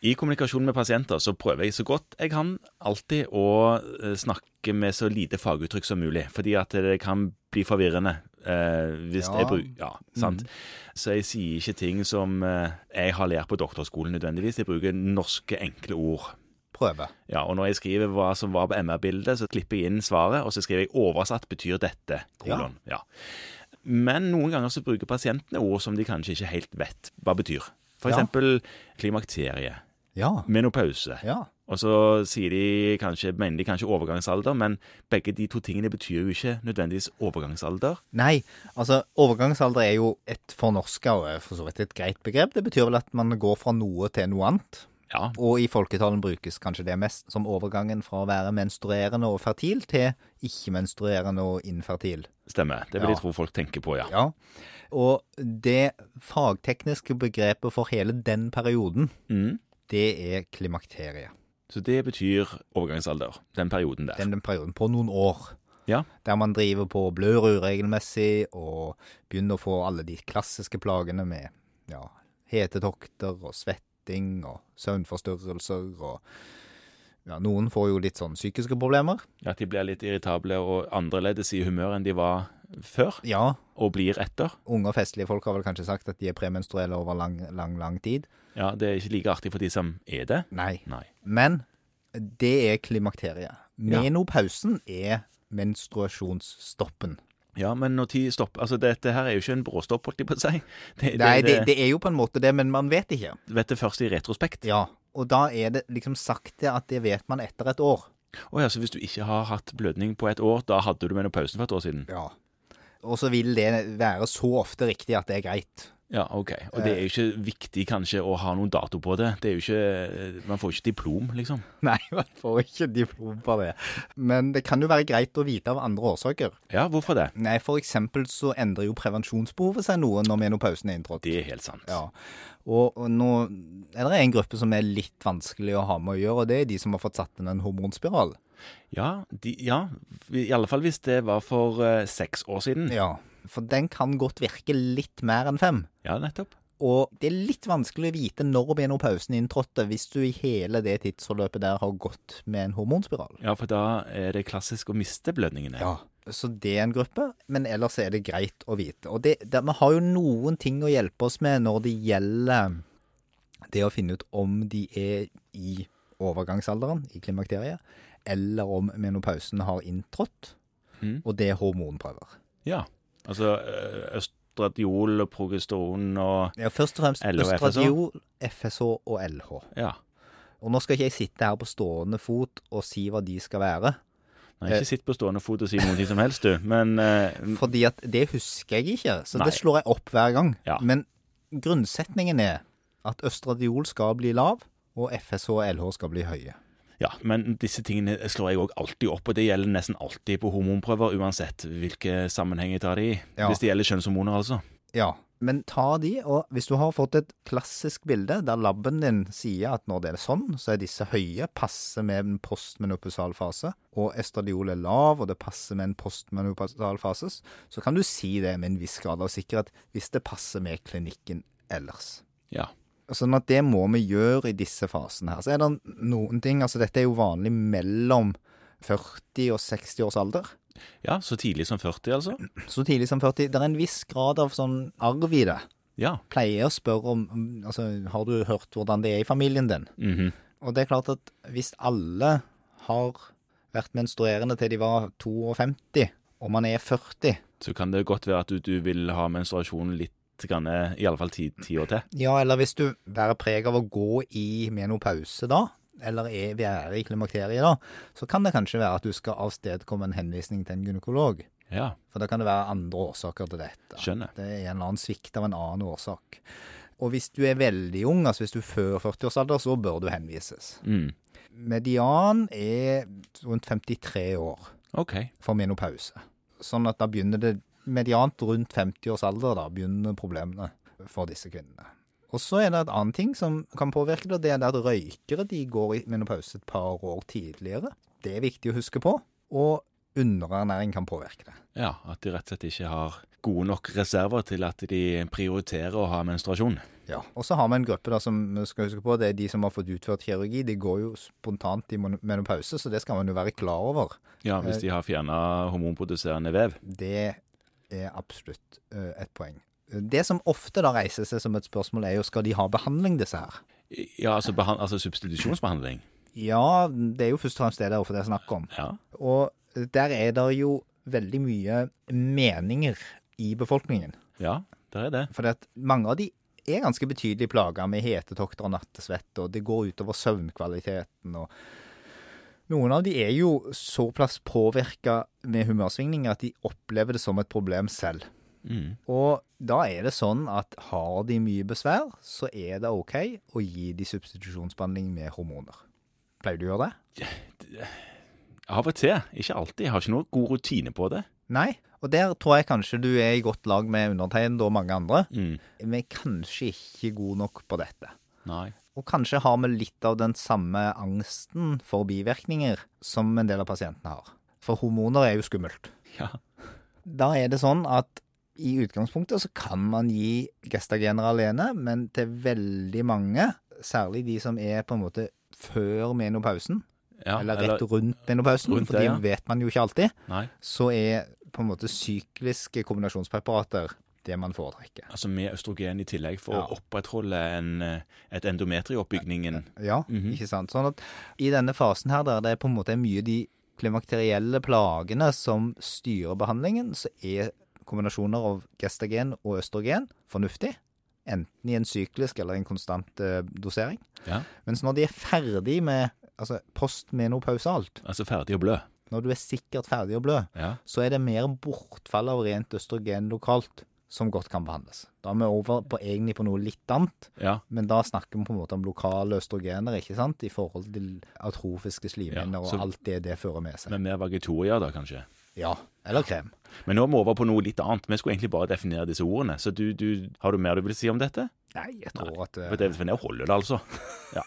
I kommunikasjon med pasienter så prøver jeg så godt jeg kan alltid å eh, snakke med så lite faguttrykk som mulig, fordi at det kan bli forvirrende. eh, hvis Ja. Mhm. jeg bruker Ja, sant. Så jeg sier ikke ting som eh, jeg har lært på doktorskolen nødvendigvis. Jeg bruker norske, enkle ord. Prøve. Ja, Og når jeg skriver hva som var på MR-bildet, så klipper jeg inn svaret, og så skriver jeg 'oversatt betyr dette', kolon. Ja. Men noen ganger så bruker pasientene ord som de kanskje ikke helt vet hva betyr. For Ja. eksempel klimakterie, Ja. menopause. Ja. Og så sier de kanskje, mener de kanskje overgangsalder, men begge de to tingene betyr jo ikke nødvendigvis overgangsalder. Nei, altså overgangsalder er jo et fornorska og for så vidt et greit begrep. Det betyr vel at man går fra noe til noe annet. Ja, Og i folketalen brukes kanskje det mest som overgangen fra å være menstruerende og fertil til ikke-menstruerende og infertil. stemmer. Det vil Ja. jeg tro folk tenker på, ja. Ja. Og det fagtekniske begrepet for hele den perioden, Mm. det er klimakterie. Så det betyr overgangsalder, den perioden der. Den, den perioden på noen år. Ja. Der man driver på og blør uregelmessig og begynner å få alle de klassiske plagene med ja, hetetokter og svetting og søvnforstyrrelser og ja, Noen får jo litt sånn psykiske problemer. At de blir litt irritable og annerledes i humør enn de var før, Ja, og blir etter. unge og festlige folk har vel kanskje sagt at de er premenstruelle over lang, lang, lang tid. Ja, det er ikke like artig for de som er det. Nei. Nei. Men det er klimakteriet. Menopausen er menstruasjonsstoppen. Ja, men når tid stopper Altså, dette her er jo ikke en bråstopp, holdt jeg på å si. Det, Nei, det, det, det er jo på en måte det, men man vet ikke. vet det først i retrospekt. Ja, og da er det liksom sakte at det vet man etter et år. Å ja, så hvis du ikke har hatt blødning på et år, da hadde du menopausen for et år siden? Ja. Og så vil det være så ofte riktig at det er greit. Ja, ok. Og det er jo ikke viktig kanskje å ha noen dato på det. Det er jo ikke, eh, Man får ikke diplom, liksom. Nei, man får ikke diplom på det. Men det kan jo være greit å vite av andre årsaker. Ja, hvorfor det? Nei, for eksempel så endrer jo prevensjonsbehovet seg noe når menopausen er inntrådt. Det er helt sant. Ja. Og, og nå er det en gruppe som er litt vanskelig å ha med å gjøre, og det er de som har fått satt inn en hormonspiral. Ja, de, ja i alle fall hvis det var for eh, seks år siden. Ja. For den kan godt virke litt mer enn fem. Ja, nettopp. Og det er litt vanskelig å vite når menopausen inntrådte, hvis du i hele det tidsforløpet der har gått med en hormonspiral. Ja, for da er det klassisk å miste blødningene. Så det er en gruppe, men ellers er det greit å vite. Og det, det, vi har jo noen ting å hjelpe oss med når det gjelder det å finne ut om de er i overgangsalderen, i klimakteriet, eller om menopausen har inntrådt. Mhm. Og det er hormonprøver. Ja. Altså eh, østradiol og progesteron og Ja, først og fremst LH og FSH? østradiol, FSH og LH. Ja. Og nå skal ikke jeg sitte her på stående fot og si hva de skal være. Nei, ikke sitt på stående fot og si noe som helst, du. Men eh, Fordi at det husker jeg ikke, så Nei. det slår jeg opp hver gang. Ja. Men grunnsetningen er at østradiol skal bli lav, og FSH og LH skal bli høye. Ja, men disse tingene slår jeg òg alltid opp, og det gjelder nesten alltid på hormonprøver, uansett hvilke sammenheng jeg tar det i. Ja. Hvis det gjelder kjønnshormoner, altså. Ja, men ta de, og hvis du har fått et klassisk bilde der labben din sier at når det er sånn, så er disse høye, passer med en postmenopausal fase, og estradiol er lav, og det passer med en postmenopausal fase, så kan du si det med en viss grad av sikkerhet hvis det passer med klinikken ellers. Ja. Sånn at det må vi gjøre i disse fasene her. Så er det noen ting, altså dette er jo vanlig mellom 40 og 60 års alder. ja, så tidlig som 40, altså? Så tidlig som 40. Det er en viss grad av sånn arv i det. Ja. Pleier å spørre om mm, altså, har du hørt hvordan det er i familien din? mhm. Og det er klart at hvis alle har vært menstruerende til de var 52, og man er 40, Så kan det godt være at du, du vil ha menstruasjon litt grann, eh, i alle fall ti, ti år til. Ja, eller hvis du bærer preg av å gå i menopause da, eller er være i klimakteriet da, så kan det kanskje være at du skal avstedkomme en henvisning til en gynekolog. Ja, For da kan det være andre årsaker til dette. skjønner. Det er en eller annen svikt av en annen årsak. Og hvis du er veldig ung, altså hvis du er før 40-årsalder, så bør du henvises. Mm. Median er rundt 53 år OK. for menopause. Sånn at da begynner det mediant rundt 50 års alder, da begynner problemene for disse kvinnene. Og så er det et annet ting som kan påvirke det, og det er at røykere de går i menopause et par år tidligere. Det er viktig å huske på. Og underernæring kan påvirke det. Ja, at de rett og slett ikke har gode nok reserver til at de prioriterer å ha menstruasjon. Ja. Og så har vi en gruppe da som vi skal huske på, det er de som har fått utført kirurgi. De går jo spontant i mon- menopause, så det skal man jo være klar over. Ja, Hvis de har fjerna hormonproduserende vev. Det er absolutt eh, et poeng. Det som ofte da reiser seg som et spørsmål, er jo skal de ha behandling, disse her? Ja, altså, behand altså substitusjonsbehandling. Ja, det er jo først og fremst det det er ofte det er snakk om. Ja. Og der er det jo veldig mye meninger i befolkningen. ja, der er det. Fordi at mange av de er ganske betydelig plaga med hetetokter og nattesvette, og det går utover søvnkvaliteten og Noen av de er jo såpass påvirka med humørsvingninger at de opplever det som et problem selv. Mm. Og da er det sånn at har de mye besvær, så er det OK å gi de substitusjonsbehandling med hormoner. Pleier du å gjøre det? Av og til. Ikke alltid. Jeg har ikke noe god rutine på det. Nei. Og der tror jeg kanskje du er i godt lag med undertegnede og mange andre. Mm. Vi er kanskje ikke gode nok på dette. Nei. Og kanskje har vi litt av den samme angsten for bivirkninger som en del av pasientene har. For hormoner er jo skummelt. Ja. Da er det sånn at i utgangspunktet så kan man gi gestagener alene, men til veldig mange, særlig de som er på en måte før menopausen, ja. eller rett rundt menopausen, rundt for det, det ja. vet man jo ikke alltid, Nei. så er på en måte sykliske kombinasjonspreparater det man foretrekker. Altså med østrogen i tillegg for Ja. å opprettholde en, eh, et endometrioppbygningen. Ja, Mhm. ikke sant. Sånn at i denne fasen her, der det på en måte er mye de klimakterielle plagene som styrer behandlingen, så er kombinasjoner av gestagen og østrogen fornuftig. Enten i en syklisk eller en konstant eh, dosering. Ja. Mens når de er ferdig med altså postmenopausalt, Altså ferdig å blø. når du er sikkert ferdig å blø, Ja. så er det mer bortfall av rent østrogen lokalt som godt kan behandles. Da er vi over på egentlig på noe litt annet. ja. Men da snakker vi på en måte om lokale østrogener, ikke sant? I forhold til atrofiske slimhinner Ja, så- og alt det det fører med seg. Med mer vagetorier, da, kanskje. Ja. Eller krem. Men nå er vi over på noe litt annet. Vi skulle egentlig bare definere disse ordene. Så du, du, har du mer du vil si om dette? Nei, jeg tror at eh, For det, for det holder det, altså. Ja.